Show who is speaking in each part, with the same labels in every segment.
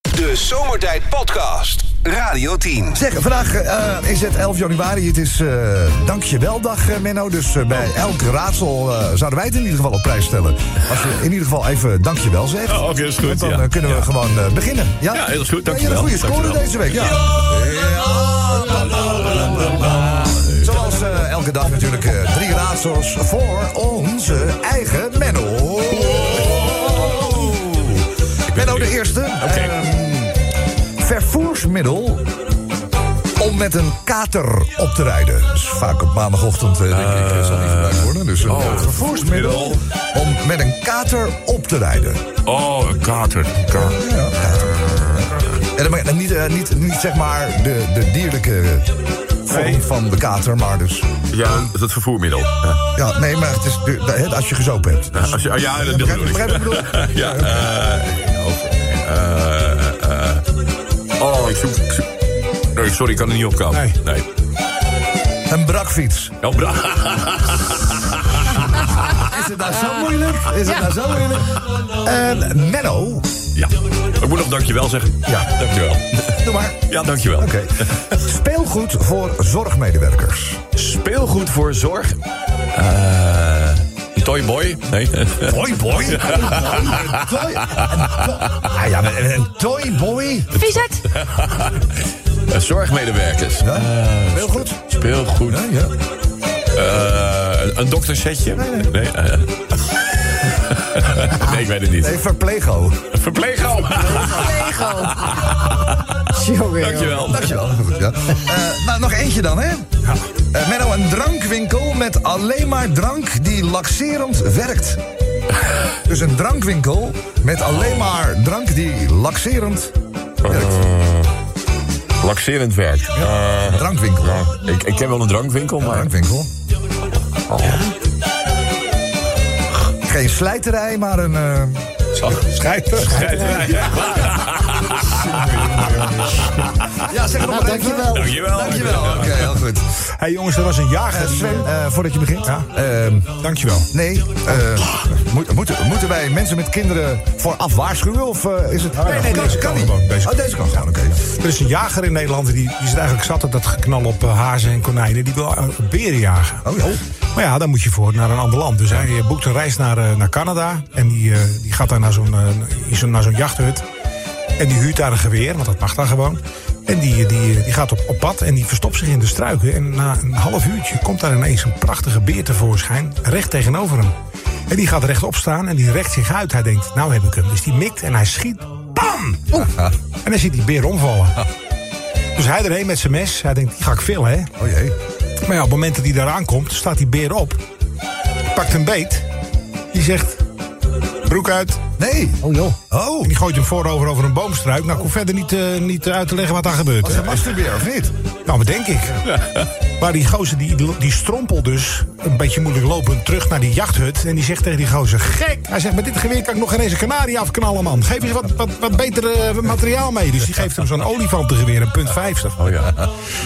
Speaker 1: De Zomertijd Podcast. Radio 10.
Speaker 2: Zeg, vandaag eh, is het 11 januari. Het is eh Dankjeweldag, eh, Menno. Dus eh, bij elk raadsel eh, zouden wij het in ieder geval op prijs stellen. Als je in ieder geval even dankjewel zegt.
Speaker 3: Oh, oké, dat is goed,
Speaker 2: Want dan
Speaker 3: ja.
Speaker 2: eh, kunnen we
Speaker 3: Ja.
Speaker 2: gewoon eh, beginnen. Ja,
Speaker 3: Ja, heel goed,
Speaker 2: Ja, je hebt
Speaker 3: dankjewel.
Speaker 2: een goede score
Speaker 3: Dankjewel.
Speaker 2: deze week. Ja. Zoals eh, elke dag natuurlijk eh, drie raadsels voor onze eigen
Speaker 3: Oh.
Speaker 2: Menno. Menno de eerste. Eh, Ehm, vervoersmiddel om met een kater op te rijden. Dat is vaak op maandagochtend, eh, denk ik, eh, zal die gebruikt worden. Dus een
Speaker 3: oh.
Speaker 2: vervoersmiddel om met een kater op te rijden.
Speaker 3: Oh, een kater. Ka-
Speaker 2: Ja, kater. En dan, maar niet, eh, niet, niet zeg maar de, de dierlijke vorm
Speaker 3: Nee.
Speaker 2: van de kater, maar dus...
Speaker 3: Ja, dat vervoermiddel. Ja,
Speaker 2: Ja, nee, maar het is de- de- het- als je gezopen hebt. Dus-
Speaker 3: als je, ah, ja dat
Speaker 2: Begrijp
Speaker 3: bedoel
Speaker 2: je- begrijp
Speaker 3: ik.
Speaker 2: je wat ik bedoel?
Speaker 3: Ja, eh, of, eh, eh, Oh, ik zoek... ik zoek- Nee, sorry, ik kan er niet op komen.
Speaker 2: Nee.
Speaker 3: nee.
Speaker 2: Een brakfiets.
Speaker 3: Oh, bra-
Speaker 2: Is het nou zo moeilijk? Is het nou zo moeilijk? En Menno,
Speaker 3: Ja. Ik moet nog dankjewel zeggen.
Speaker 2: Ja.
Speaker 3: Dankjewel.
Speaker 2: doe maar.
Speaker 3: Ja, dankjewel.
Speaker 2: Oké. Speelgoed voor zorgmedewerkers.
Speaker 3: Speelgoed voor zorg. Eh, een toyboy? Nee.
Speaker 2: Toyboy? Een toy- een to- Ah ja, maar een toyboy?
Speaker 4: Wie is het?
Speaker 3: Zorgmedewerkers.
Speaker 2: Ja, speelgoed?
Speaker 3: Speelgoed.
Speaker 2: Ja, ja.
Speaker 3: Eh, een- een doktersetje? Nee, nee. eh. nee, ik weet het niet.
Speaker 2: Nee, verplego.
Speaker 3: Verpleeghoom. Dankjewel.
Speaker 2: Dankjewel. Goed, ja. Eh, nou, nog eentje dan, hè? Eh, Menno, een drankwinkel met alleen maar drank die laxerend werkt. Dus een drankwinkel met alleen maar drank die laxerend werkt.
Speaker 3: Laxerend werk. Eh,
Speaker 2: Drankwinkel.
Speaker 3: ik, ik ken wel een drankwinkel, maar...
Speaker 2: Drankwinkel. Oh. Geen slijterij, maar een... eh, Ja, zeg het nog maar dankjewel.
Speaker 3: Dankjewel.
Speaker 2: Dankjewel. Oké, heel goed.
Speaker 5: Hé jongens, er was een jager.
Speaker 2: Eh,
Speaker 5: die,
Speaker 2: Sven,
Speaker 5: eh,
Speaker 2: eh, voordat je begint. ehm,
Speaker 5: dankjewel.
Speaker 2: Nee, eh, moet, moeten- moeten wij mensen met kinderen vooraf waarschuwen? Of eh, is het...
Speaker 5: nee, nee, deze kan gewoon, deze
Speaker 2: oh, deze kan gewoon, oké.
Speaker 5: Er is een jager in Nederland die, die is eigenlijk zat op dat geknal op eh, hazen en konijnen. Die wil eh, beren jagen.
Speaker 2: Oh, ja.
Speaker 5: Maar ja, dan moet je voor naar een ander land. Dus hij eh, boekt een reis naar, eh, naar Canada. En die, eh, die gaat daar naar zo'n, eh, in zo'n- naar zo'n jachthut. En die huurt daar een geweer, want dat mag daar gewoon. En die, eh, die, eh, die gaat op, op pad en die verstopt zich in de struiken. En na een half uurtje komt daar ineens een prachtige beer tevoorschijn. Recht tegenover hem. En die gaat rechtop staan en die rekt zich uit. Hij denkt, nou heb ik hem. Dus die mikt en hij schiet. Bam! En dan ziet die beer omvallen. Dus hij erheen met zijn mes. Hij denkt, die ga ik villen, hè.
Speaker 2: Oh jee.
Speaker 5: Maar ja, op het moment dat hij daar aankomt, staat die beer op. Pakt een beet. Die zegt, broek uit.
Speaker 2: Nee.
Speaker 5: Oh joh.
Speaker 2: Oh,
Speaker 5: En die gooit hem voorover over een boomstruik. Nou, ik hoef verder niet, eh, niet uit te leggen wat daar gebeurt.
Speaker 2: was
Speaker 5: hè.
Speaker 2: het masturberen of niet?
Speaker 5: Nou, wat denk ik. Maar die gozer die, die strompelt dus een beetje moeilijk lopend terug naar die jachthut. En die zegt tegen die gozer: Gek! Hij zegt: Met dit geweer kan ik nog geen eens een kanarie afknallen, man. Geef eens wat, wat, wat beter eh, materiaal mee. Dus die geeft hem zo'n olifantengeweer, een punt 50.
Speaker 3: Oh ja.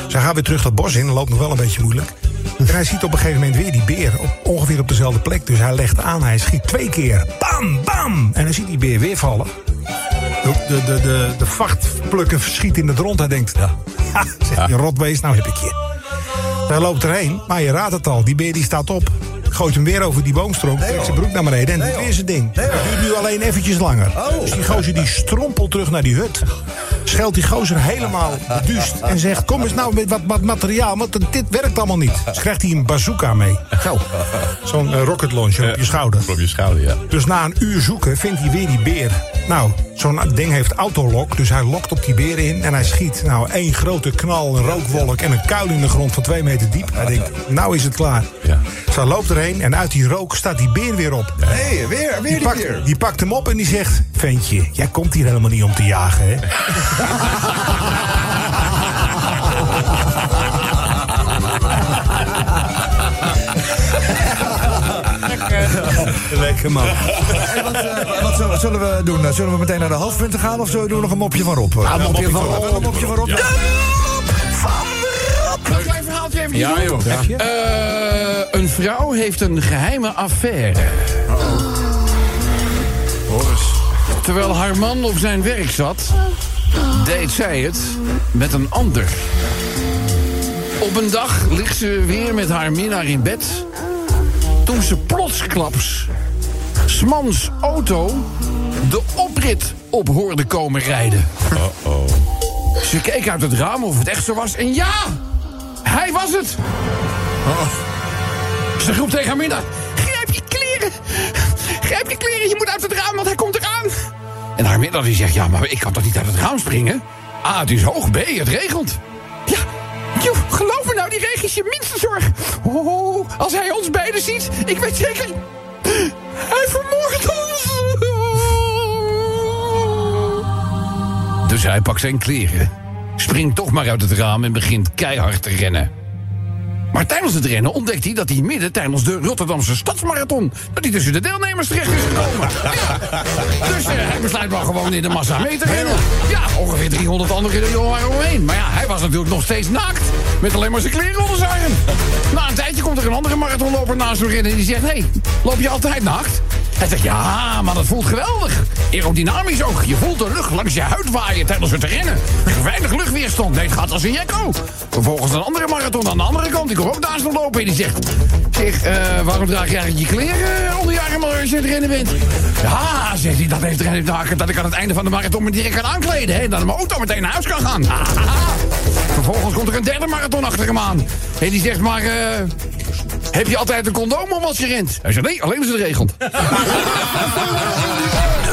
Speaker 5: Ze gaan weer terug dat bos in, loopt nog wel een beetje moeilijk. En hij ziet op een gegeven moment weer die beer op, ongeveer op dezelfde plek. Dus hij legt aan, hij schiet twee keer. Bam, bam! En dan ziet die beer weer vallen. De, de, de, de, de vachtplukker schiet in het rond. Hij denkt, ja, zegt die rotbeest, nou heb ik je. Hij loopt erheen, maar je raadt het al. Die beer die staat op. Gooit hem weer over die boomstroom, trekt zijn
Speaker 2: joh.
Speaker 5: broek naar beneden en doet
Speaker 2: joh.
Speaker 5: weer zijn ding.
Speaker 2: Nee,
Speaker 5: Het
Speaker 2: joh.
Speaker 5: duurt nu alleen eventjes langer.
Speaker 2: Oh.
Speaker 5: Dus die gozer die strompelt terug naar die hut. Scheldt die gozer helemaal beduust en zegt... kom eens nou met wat, wat materiaal, want dit werkt allemaal niet. Dus krijgt hij een bazooka mee. Zo. Zo'n eh, rocket launcher op je schouder.
Speaker 3: Op je schouder, ja.
Speaker 5: Dus na een uur zoeken vindt hij weer die beer. Nou, zo'n ding heeft autolok, dus hij lokt op die beer in en hij schiet. Nou, één grote knal, een rookwolk en een kuil in de grond van twee meter diep. Hij denkt, nou is het klaar.
Speaker 3: Ja.
Speaker 5: Dus hij loopt erheen en uit die rook staat die beer weer op.
Speaker 2: Nee, weer, weer
Speaker 5: Die
Speaker 2: die
Speaker 5: pakt,
Speaker 2: keer.
Speaker 5: die pakt hem op en die zegt... Ventje, jij komt hier helemaal niet om te jagen, hè? Lekker man.
Speaker 2: Hey, wat, eh, wat zullen- zullen we doen? Eh, Zullen we meteen naar de hoofdpunten gaan of zullen we doen nog een mopje van Rob? Ja,
Speaker 3: mopje van Rob.
Speaker 2: Wel een mopje van Rob.
Speaker 3: Ja. Ja, joh.
Speaker 6: Eh, een vrouw heeft een geheime affaire. Terwijl haar man op zijn werk zat, deed zij het met een ander. Op een dag ligt ze weer met haar minnaar in bed. Toen ze plotsklaps Smans auto de oprit op hoorde komen rijden. Ze keek uit het raam of het echt zo was en ja, hij was het. Ze roept tegen haar minnaar, grijp je kleren, grijp je kleren, je moet uit het raam, want hij komt eraan. En haar minnaar die zegt, ja, maar ik kan toch niet uit het raam springen? A, het is hoog, B, het regent. Ja, joh, geloof me nou, die regen is je minste zorg. Oh, als hij ons beiden ziet, ik weet zeker, hij vermoordt ons. Dus hij pakt zijn kleren, springt toch maar uit het raam en begint keihard te rennen. Maar tijdens het rennen ontdekt hij dat hij midden tijdens de Rotterdamse Stadsmarathon... dat hij tussen de deelnemers terecht is gekomen. Ja. Dus eh, hij besluit wel gewoon in de massa mee te rennen. Ja, ongeveer 300 anderen jongen waren omheen. Maar ja, hij was natuurlijk nog steeds naakt. Met alleen maar zijn kleren onder zijn arm. Na een tijdje komt er een andere marathonloper naast hem rennen... en die zegt, hé, hey, loop je altijd naakt? Hij zegt, ja, "Ah, maar dat voelt geweldig. Aerodynamisch ook. Je voelt de lucht langs je huid waaien tijdens het rennen. Er is weinig luchtweerstand. Nee, het gaat als een jekko. Vervolgens een andere marathon aan de andere kant. Die komt ook naast hem lopen en die zegt... Zeg, eh, waarom draag je eigenlijk je kleren onder je arm als je aan het rennen bent? Ja, zegt hij, dat heeft erin te maken dat ik aan het einde van de marathon me direct kan aankleden. Hè, en dat mijn auto meteen naar huis kan gaan. Ah, Vervolgens komt er een derde marathon achter hem aan. En die zegt maar... eh, heb je altijd een condoom om als je rent? Hij zegt, nee, alleen als het regent.
Speaker 1: De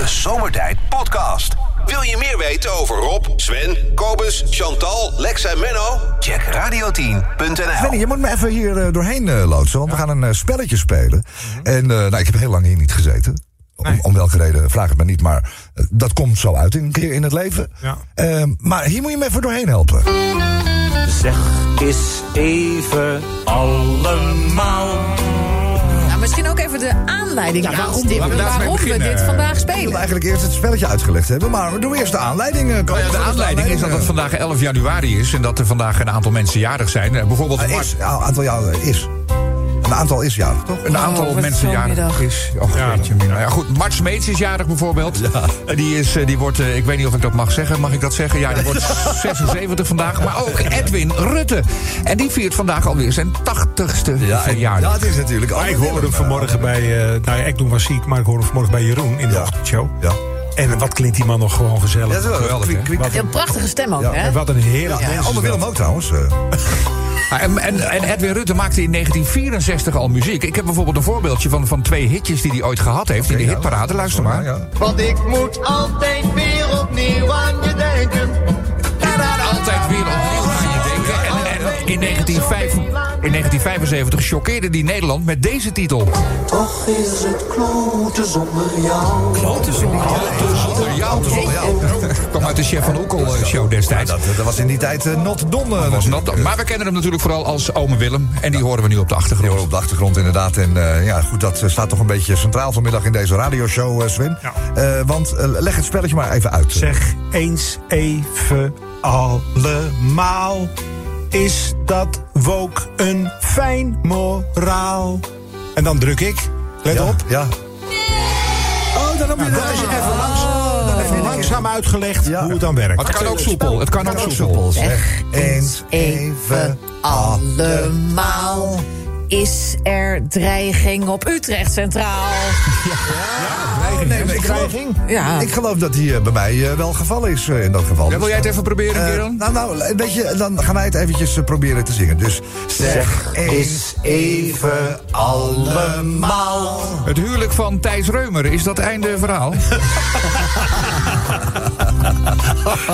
Speaker 1: Zomertijd Podcast. Wil je meer weten over Rob, Sven, Kobus, Chantal, Lex en Menno? Check radio10.nl.
Speaker 2: Benny, je moet me even hier eh, doorheen eh, loodsen, want we gaan een eh, spelletje spelen.
Speaker 7: Mhm.
Speaker 2: En eh, nou, ik heb heel lang hier niet gezeten. Om, om welke reden, vraag het me niet, maar eh, dat komt zo uit een keer in het leven.
Speaker 5: Ja.
Speaker 2: Eh, maar hier moet je me even doorheen helpen.
Speaker 4: Zeg eens even allemaal.
Speaker 7: Nou, misschien ook even de aanleiding
Speaker 5: Ja, waarom-
Speaker 7: aanstippen
Speaker 5: laten we daarmee
Speaker 7: waarom we
Speaker 5: beginnen.
Speaker 7: dit vandaag
Speaker 2: Ik wil
Speaker 7: spelen.
Speaker 2: eigenlijk eerst het spelletje uitgelegd hebben, maar we doen eerst de aanleiding. eh, Koos.
Speaker 3: Nou ja, de aanleiding
Speaker 2: eh,
Speaker 3: is dat het vandaag 11 januari is en dat er vandaag een aantal mensen jarig zijn. Eh, Bijvoorbeeld
Speaker 2: Eh,
Speaker 3: Mark.
Speaker 2: Is, ja, een aantal jaren is. Een aantal is ja, toch?
Speaker 3: Een aantal
Speaker 7: wat
Speaker 3: mensen
Speaker 7: zo'n
Speaker 3: jarig
Speaker 7: middag.
Speaker 3: is. oh, Och,
Speaker 5: Ja.
Speaker 3: jeetje, mina. Nou ja, goed. Mart Smeets is jarig bijvoorbeeld. Eh, Die, is, eh, die wordt, eh, ik weet niet of ik dat mag zeggen. Mag ik dat zeggen? Ja, die wordt 76 vandaag. Maar ook Edwin Rutte. En die viert vandaag alweer zijn 80ste
Speaker 2: ja,
Speaker 3: verjaardag.
Speaker 2: dat is natuurlijk.
Speaker 5: Maar ik
Speaker 2: Anne
Speaker 5: hoorde hem
Speaker 2: Willem,
Speaker 5: vanmorgen bij... eh, nou ja, ik doe was ziek, maar ik hoorde hem vanmorgen bij Jeroen in de
Speaker 2: Ja.
Speaker 5: ochtendshow.
Speaker 2: eh, Ja,
Speaker 5: En wat klinkt die man nog gewoon gezellig.
Speaker 2: Ja, dat is wel
Speaker 3: Geweldig,
Speaker 2: Kwiek,
Speaker 3: hè?
Speaker 2: kwiek.
Speaker 7: Een prachtige stem ook, hè?
Speaker 5: En wat een heerlijk
Speaker 2: Ja,
Speaker 5: mens is
Speaker 2: Anne Willem
Speaker 5: dat.
Speaker 2: ook trouwens. eh.
Speaker 3: Ah, En, en, en Edwin Rutte maakte in 1964 al muziek. Ik heb bijvoorbeeld een voorbeeldje van, van twee hitjes die hij ooit gehad heeft. in de
Speaker 2: ja.
Speaker 3: hitparade, luister maar.
Speaker 2: Ja.
Speaker 8: Want ik moet altijd weer opnieuw aan je denken.
Speaker 3: En daar altijd weer opnieuw aan je denken. En, en in, 1905 in 1975 choqueerde die Nederland met deze titel.
Speaker 8: Toch is het klote zonder jou.
Speaker 3: Zonder jou, zonder jou. Dat kwam uit de Chef van Oekel eh, show destijds.
Speaker 2: Dat, dat was in die tijd eh, not done. eh,
Speaker 3: Was
Speaker 2: natuurlijk.
Speaker 3: nat. Maar we kennen hem natuurlijk vooral als Ome Willem. En die horen we nu op de
Speaker 2: Die
Speaker 3: achtergrond.
Speaker 2: horen op de achtergrond inderdaad. En eh, ja, goed, dat eh, staat toch een beetje centraal vanmiddag in deze radioshow, eh, Sven.
Speaker 5: Ja.
Speaker 2: Eh, want eh, leg het spelletje maar even uit.
Speaker 5: Zeg eens even allemaal. Is dat woke een fijn moraal? En dan druk ik. Let
Speaker 2: ja,
Speaker 5: op.
Speaker 2: Ja. Oh, dan heb je dat even langs.
Speaker 5: Dan even langzaam uitgelegd
Speaker 2: Ja.
Speaker 5: hoe het dan werkt.
Speaker 3: Maar het kan ook soepel. Het kan ook soepel.
Speaker 2: Soepel, zeg eens even
Speaker 7: Even allemaal. Is er dreiging op Utrecht Centraal?
Speaker 2: Nee, maar ik geloof,
Speaker 7: Ja.
Speaker 2: ik geloof dat die eh, bij mij eh, wel gevallen is eh, in dat geval.
Speaker 3: Ja, wil jij het even proberen,
Speaker 2: Eh,
Speaker 3: Kieran?
Speaker 2: nou, nou, weet je, dan gaan wij het eventjes eh, proberen te zingen. Dus zeg eens even allemaal.
Speaker 3: Het huwelijk van Thijs Reumer, is dat einde verhaal?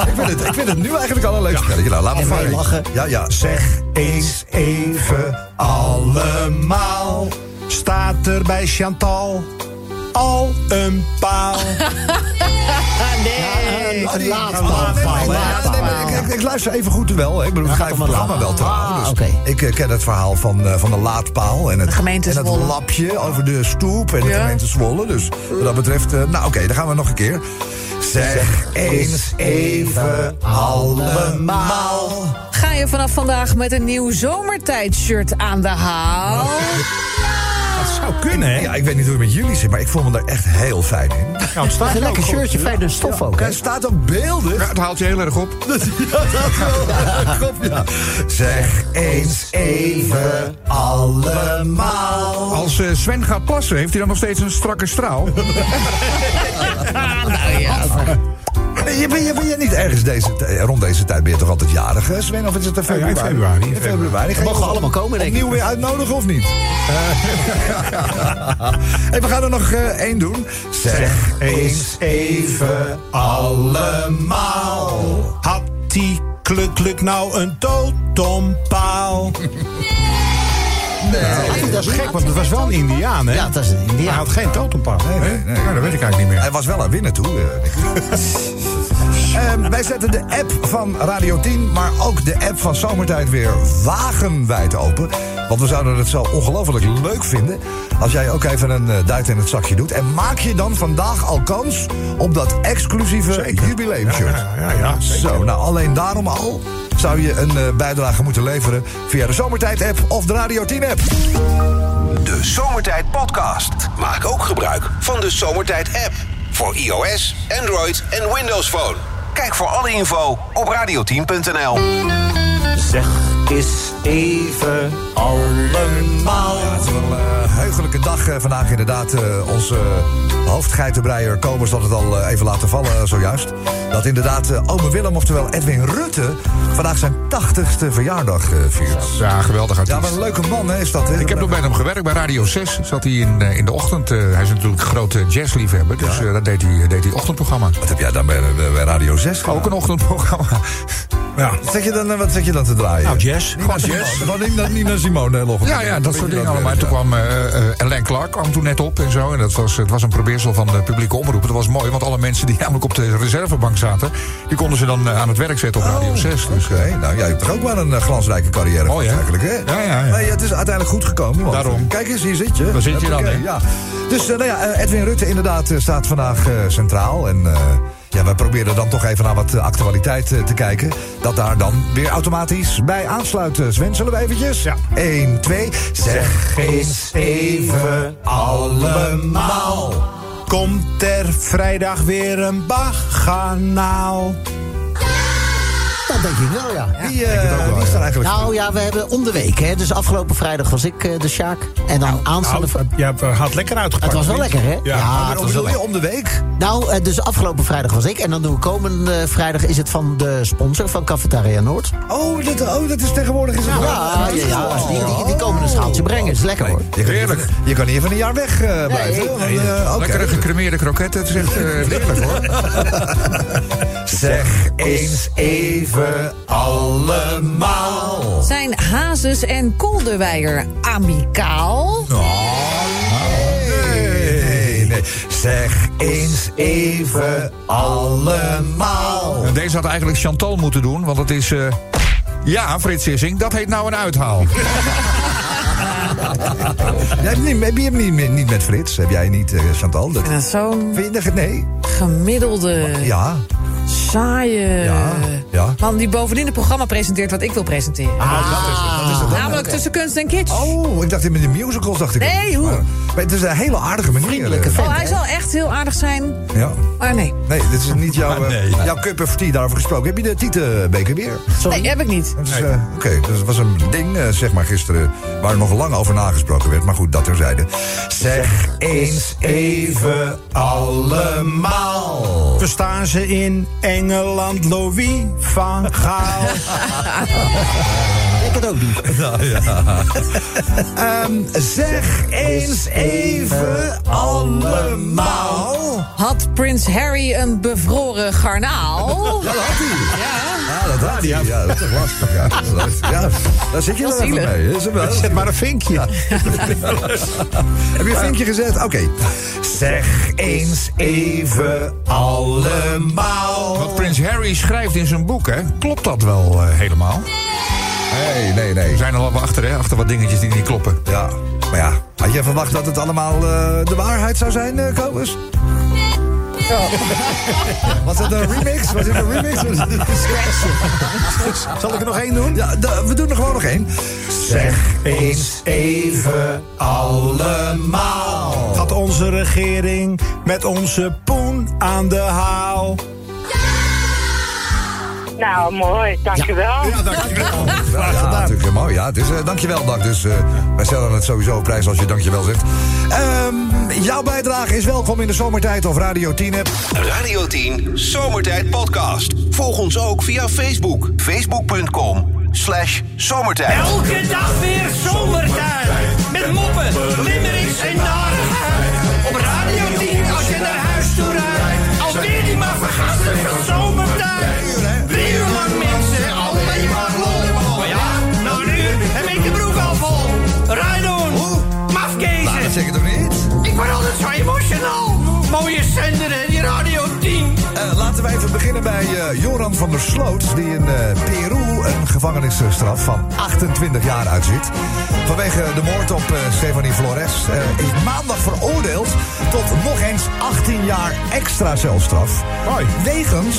Speaker 2: Ik vind, het, ik vind het nu eigenlijk al een leuk spelletje. Nou, laat me maar lachen. Ja, ja.
Speaker 5: Zeg eens even allemaal. Staat er bij Chantal al een paal?
Speaker 7: Nee.
Speaker 2: Ah, die- Ah, nee, nee, nee, nee, maar ik- ik- Ik luister even goed wel. hè. Ik bedoel, ik ga even het programma wel trouwen. Dus Ik eh, ken het verhaal van, eh, van de laadpaal en het,
Speaker 7: gemeente
Speaker 2: en het
Speaker 7: Zwolle.
Speaker 2: lapje over de stoep en de
Speaker 7: Ja.
Speaker 2: gemeente Zwolle. Dus wat dat betreft, eh, nou oké, dan gaan we nog een keer. Zeg eens even allemaal.
Speaker 7: Ga je vanaf vandaag met een nieuw zomertijdshirt aan de haal?
Speaker 5: Dat zou kunnen, hè?
Speaker 2: Ja, ik weet niet hoe het met jullie zit, maar ik voel me daar echt heel fijn in.
Speaker 5: Nou, het staat
Speaker 9: Dat is een
Speaker 5: er ook
Speaker 9: lekker
Speaker 5: gewoon.
Speaker 9: shirtje, fijn en stof ook. hè?
Speaker 2: Hij staat ook beeldig.
Speaker 3: Ja, het haalt je heel erg op.
Speaker 2: Dat, ja, dat wel. Kom, ja. Zeg eens even allemaal.
Speaker 3: Als eh, Sven gaat plassen, heeft hij dan nog steeds een strakke straal?
Speaker 9: Nou
Speaker 2: Je ben, je, ben je niet ergens deze, t- eh, rond deze tijd ben je toch altijd jarig, hè, Sven? Of is het in
Speaker 5: ja,
Speaker 2: februari?
Speaker 5: in februari, in
Speaker 2: In februari. Ga je
Speaker 9: Mogen we
Speaker 2: ons
Speaker 9: allemaal komen, denk ik.
Speaker 2: Opnieuw weer uitnodigen of niet? hey, we gaan er nog eh, één doen. Zeg eens even allemaal.
Speaker 5: Had die kluk kluk nou een totempaal?
Speaker 9: Ja,
Speaker 5: Dat is gek, want het was wel een indiaan, hè?
Speaker 9: Ja, dat is een
Speaker 5: Maar hij
Speaker 9: Indiaan.
Speaker 5: had geen totempaal.
Speaker 2: nee, nee.
Speaker 5: Nou, dat weet ik eigenlijk niet meer.
Speaker 2: Hij was wel aan winnen toe. eh, denk ik. Ehm, wij zetten de app van Radio 10, maar ook de app van Zomertijd weer wagenwijd open. Want we zouden het zo ongelooflijk leuk vinden als jij ook even een eh, duit in het zakje doet. En maak je dan vandaag al kans op dat exclusieve jubileumshirt.
Speaker 5: Ja, ja, ja.
Speaker 2: Zo, nou alleen daarom al zou je een eh, bijdrage moeten leveren via de Zomertijd-app of de Radio 10-app.
Speaker 1: De Zomertijd Podcast. Maak ook gebruik van de Zomertijd app. Voor iOS, Android en Windows Phone. Kijk voor alle info op radioteam.nl.
Speaker 4: Zeg eens even allemaal.
Speaker 2: Het is wel een heugelijke dag eh, vandaag inderdaad. Eh, onze eh, hoofdgeitenbreier Kobers had het al eh, even laten vallen eh, zojuist. Dat inderdaad eh, ome Willem, oftewel Edwin Rutte... vandaag zijn 80ste verjaardag eh, viert.
Speaker 3: Ja, geweldig
Speaker 2: Ja,
Speaker 3: artiest.
Speaker 2: wat een leuke man hè, is dat. Hè?
Speaker 3: Ik heb nog bij hem gewerkt, bij Radio 6 zat hij in, eh, in de ochtend. eh, hij is natuurlijk een grote jazzliefhebber, dus eh, dat deed hij, deed hij ochtendprogramma.
Speaker 2: Wat heb jij dan bij, bij- bij Radio 6 gedaan?
Speaker 3: Ook een ochtendprogramma.
Speaker 5: Ja.
Speaker 2: Zeg je dan, eh, wat zeg je dan te draaien?
Speaker 5: Nou, jazz.
Speaker 2: Gewoon jazz. Gewoon niet naar- niet naar Simone. hè, Logge.
Speaker 3: Ja, ja, dat soort dingen allemaal.
Speaker 2: werkt,
Speaker 3: Toen
Speaker 2: ja.
Speaker 3: kwam eh, eh, Alain Clark kwam toen net op en zo. En dat was, het was een probeersel van de publieke omroep. Dat was mooi, want alle mensen die namelijk op de reservebank zaten... die konden ze dan eh, aan het werk zetten op Radio 6. Dus,
Speaker 2: Oké, nou jij hebt toch ook wel een eh, glansrijke carrière
Speaker 3: Mooi, hè?
Speaker 2: eigenlijk, hè?
Speaker 3: Ja, ja, ja.
Speaker 2: Nee, het is uiteindelijk goed gekomen. want- eh,
Speaker 3: Daarom.
Speaker 2: Kijk eens, hier zit je.
Speaker 3: Daar zit je dan,
Speaker 2: Hoppakee,
Speaker 3: hè?
Speaker 2: Ja. Dus eh, nou ja, eh, Edwin Rutte inderdaad eh, staat vandaag eh, centraal. En eh, ja, wij proberen dan toch even naar wat eh, actualiteit eh, te kijken. Dat daar dan weer automatisch bij aansluit. eh, Sven, zullen we eventjes?
Speaker 5: Ja.
Speaker 2: 1, 2, zeg eens even allemaal.
Speaker 5: Komt er vrijdag weer een baganaal?
Speaker 9: Dat denk ik wel, ja.
Speaker 2: Wie, eh, wie is er eigenlijk?
Speaker 9: Nou ja, we hebben om de week, hè. Dus afgelopen vrijdag was ik eh, de Sjaak. En dan aanstaande...
Speaker 5: Nou, je hebt, eh, had lekker uitgepakt.
Speaker 9: Het was wel
Speaker 5: of niet?
Speaker 9: lekker, hè?
Speaker 5: Ja.
Speaker 9: het
Speaker 2: Wat
Speaker 9: was
Speaker 2: bedoel
Speaker 9: wel lekker.
Speaker 2: je om de week?
Speaker 9: Nou, eh, dus afgelopen vrijdag was ik. En dan doen we komende eh, vrijdag is het van de sponsor van Cafetaria Noord.
Speaker 2: Oh, dat, oh, dat is tegenwoordig is het wel-
Speaker 9: Nou, Ja, ja, ja, die, die, die komen een schaaltje brengen. Is lekker hoor.
Speaker 2: Je kan, Heerlijk. Je kan niet even een jaar weg eh, blijven. want, eh, oké.
Speaker 3: Lekkere gecremeerde kroketten, het is echt eh, heerlijk hoor.
Speaker 2: Zeg eens even allemaal.
Speaker 7: Zijn Hazes en Kolderweijer amicaal?
Speaker 2: Nee, nee. Zeg eens even allemaal.
Speaker 3: En Deze had eigenlijk Chantal moeten doen, want het is... eh, ja, Frits Sissing, dat heet nou een uithaal.
Speaker 2: Jij hebt niet, heb je hem niet, niet met Frits? Heb jij niet, eh, Chantal? Dat,
Speaker 7: Dat is Nou, zo'n
Speaker 2: vind je dat- nee?
Speaker 7: gemiddelde,
Speaker 2: Ja.
Speaker 7: saaie
Speaker 2: Ja, ja.
Speaker 7: man die bovendien het programma presenteert wat ik wil presenteren. Namelijk tussen kunst en kitsch.
Speaker 2: Oh, ik dacht in de musicals dacht ik.
Speaker 7: Nee, hoe?
Speaker 2: Maar het is een hele aardige manier.
Speaker 9: Vriendelijke
Speaker 2: eh,
Speaker 9: vent.
Speaker 7: Oh, hij zal echt heel aardig zijn,
Speaker 2: Ja.
Speaker 7: maar nee.
Speaker 2: Nee, dit is niet jouw, eh, jouw cup of tea daarover gesproken. Heb je de Tietenbeker weer?
Speaker 7: Nee, heb ik niet.
Speaker 2: Dus, eh, Oké, dus het was een ding, eh, zeg maar, gisteren... waar nog lang over nagesproken werd. Maar goed, dat terzijde. Zeg eens even allemaal.
Speaker 5: Verstaan ze in Engeland Louis van Gaal?
Speaker 9: Ik het ook niet.
Speaker 5: Ehm,
Speaker 2: Zeg eens even allemaal.
Speaker 7: Had Prins Harry een bevroren garnaal?
Speaker 2: Ja, dat had hij.
Speaker 7: Ja.
Speaker 2: Ja, dat had hij. Ja, dat is toch lastig. Ja, dat is lastig. Ja, daar zit je
Speaker 7: Dat
Speaker 2: dan
Speaker 7: is
Speaker 2: even
Speaker 7: zielig.
Speaker 2: mee. hè? Is het wel?
Speaker 5: Zet maar een vinkje.
Speaker 2: Heb je een vinkje gezet? Oké. Zeg eens even allemaal.
Speaker 3: Wat Prins Harry schrijft in zijn boek, hè, klopt dat wel eh, helemaal?
Speaker 2: Nee, nee, nee.
Speaker 3: We zijn er al wel achter, hè, achter wat dingetjes die niet kloppen.
Speaker 2: Ja, maar ja. Had jij verwacht dat het allemaal eh, de waarheid zou zijn, eh Kobus? Was dat een remix? Was dit een remix? Zal ik er nog één doen? Ja, da- we doen er gewoon nog één. Zeg eens even allemaal.
Speaker 5: Gaat onze regering met onze poen aan de haal.
Speaker 10: Nou, mooi. Dankjewel.
Speaker 5: Ja, dankjewel. Graag
Speaker 2: Ja,
Speaker 5: gedaan.
Speaker 2: natuurlijk mooi. Ja, dus eh, dankjewel, Dank. Dus eh, wij stellen het sowieso op prijs als je dankjewel zegt. Ehm, jouw bijdrage is welkom in de zomertijd of Radio 10 app.
Speaker 1: Radio 10 Zomertijd Podcast. Volg ons ook via Facebook. Facebook.com slash zomertijd.
Speaker 11: Elke dag weer zomertijd. Met moppen, limmerings en narigheid. Op Radio 10 als je naar huis toe rijdt. Alweer die maar vergastige zomertijd. Drie uur lang mensen, alleen maar lol. Maar ja, nou nu heb ik de broek al vol. Rijdon, mafkezen.
Speaker 2: Nou, dat zeg je toch niet?
Speaker 11: Ik word altijd zo emotional. Mooie zender hè, die Radio 10.
Speaker 2: Eh, laten wij even beginnen bij eh, Joran van der Sloot, die in eh, Peru een gevangenisstraf van 28 jaar uitzit. Vanwege de moord op eh, Stefanie Flores eh, is maandag veroordeeld tot nog eens 18 jaar extra celstraf.
Speaker 5: Hoi.
Speaker 2: Wegens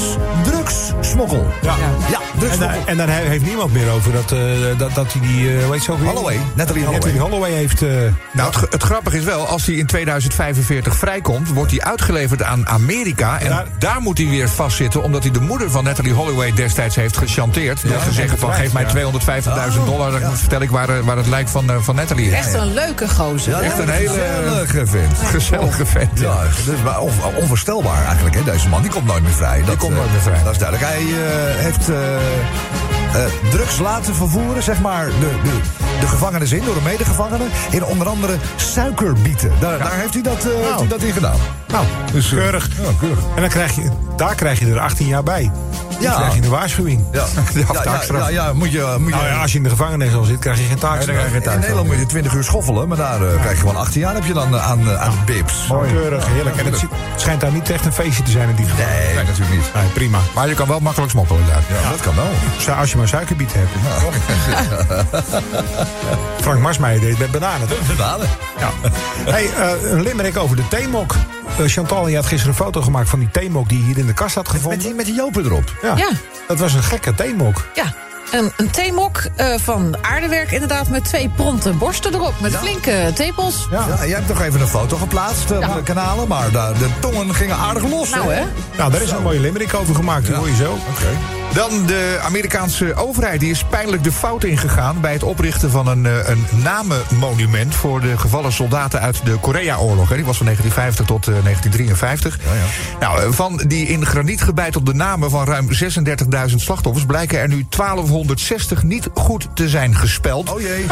Speaker 2: drugssmokkel.
Speaker 5: Ja.
Speaker 2: Ja,
Speaker 5: En, eh,
Speaker 2: drugssmokkel.
Speaker 5: daar- en daar he- heeft niemand meer over dat, eh, dat, dat hij die, eh weet je zo weer?
Speaker 2: Holloway, Natalie Holloway.
Speaker 5: Natalie Holloway heeft... eh,
Speaker 3: Nou, het, ge- het grappige is wel, als hij in 2045 vrijkomt... wordt hij uitgeleverd aan Amerika. En
Speaker 5: Daar-
Speaker 3: daar, moet hij weer vastzitten... omdat hij de moeder van Natalie Holloway destijds heeft gechanteerd. door te zeggen van, geef mij 250.000 dollar... dan vertel ik waar, eh, waar het lijk van, eh, van Natalie is.
Speaker 7: Echt een leuke gozer.
Speaker 2: Ja,
Speaker 3: echt een hele-
Speaker 2: gezellige vent.
Speaker 3: Gezellige vent.
Speaker 2: Ja, dus, maar on- onvoorstelbaar eigenlijk, hè, deze man. Die komt nooit meer vrij. Dat,
Speaker 3: komt
Speaker 2: eh,
Speaker 3: nooit meer vrij.
Speaker 2: Dat is duidelijk. Hij eh, heeft eh, eh, drugs laten vervoeren, zeg maar, de, de, de gevangenis in, door de medegevangenen. In onder andere suikerbieten. Daar, daar heeft hij dat, eh, heeft hij dat in gedaan.
Speaker 5: nou,
Speaker 2: Dus, eh,
Speaker 5: keurig.
Speaker 2: Ja, keurig.
Speaker 5: En dan krijg je, daar krijg je er 18 jaar bij. Dan
Speaker 2: Ja.
Speaker 5: krijg je de waarschuwing.
Speaker 2: Ja, ja, ja,
Speaker 5: taakstraf.
Speaker 2: ja, ja, moet je... Moet je
Speaker 5: Nou ja, als je in de gevangenis al zit, krijg je geen taak.
Speaker 2: in Nederland moet je 20 uur schoffelen, maar daar eh, krijg je gewoon 18 jaar heb je dan eh, aan, eh, aan bips.
Speaker 5: Mooi. Keurig, heerlijk. En het, zit- het schijnt daar niet echt een feestje te zijn in die gevangenis.
Speaker 2: Nee, natuurlijk niet.
Speaker 5: Nee, prima.
Speaker 3: Maar je kan wel makkelijk smokkelen daar.
Speaker 2: Ja, Dat kan wel.
Speaker 5: Zo, Als je maar suikerbiet hebt. Frank Marsmeijer deed het met bananen. toch?
Speaker 2: Bananen.
Speaker 5: Ja. Hey, eh, een limerick over de theemok. Eh, Chantal, je had gisteren een foto gemaakt van die theemok die je hier in de kast had
Speaker 2: Met
Speaker 5: gevonden.
Speaker 2: die, met die jopen erop.
Speaker 7: Ja.
Speaker 5: Dat was een gekke theemok.
Speaker 7: Ja, een, een theemok eh, van aardewerk inderdaad met twee pronte borsten erop. Met flinke tepels.
Speaker 2: Ja. jij hebt toch even een foto geplaatst eh, op de kanalen, maar de, de tongen gingen aardig los. eh,
Speaker 7: Nou hè,
Speaker 5: Nou, daar is een mooie limerick over gemaakt, die hoor je zo.
Speaker 3: Dan de Amerikaanse overheid. Die is pijnlijk de fout ingegaan bij het oprichten van een, eh, een namenmonument... voor de gevallen soldaten uit de Korea-oorlog. hè. Die was van 1950 tot eh, 1953. Nou, eh, van die in graniet gebeitelde namen van ruim 36.000 slachtoffers... blijken er nu 1260 niet goed te zijn gespeld.
Speaker 2: Oh jee.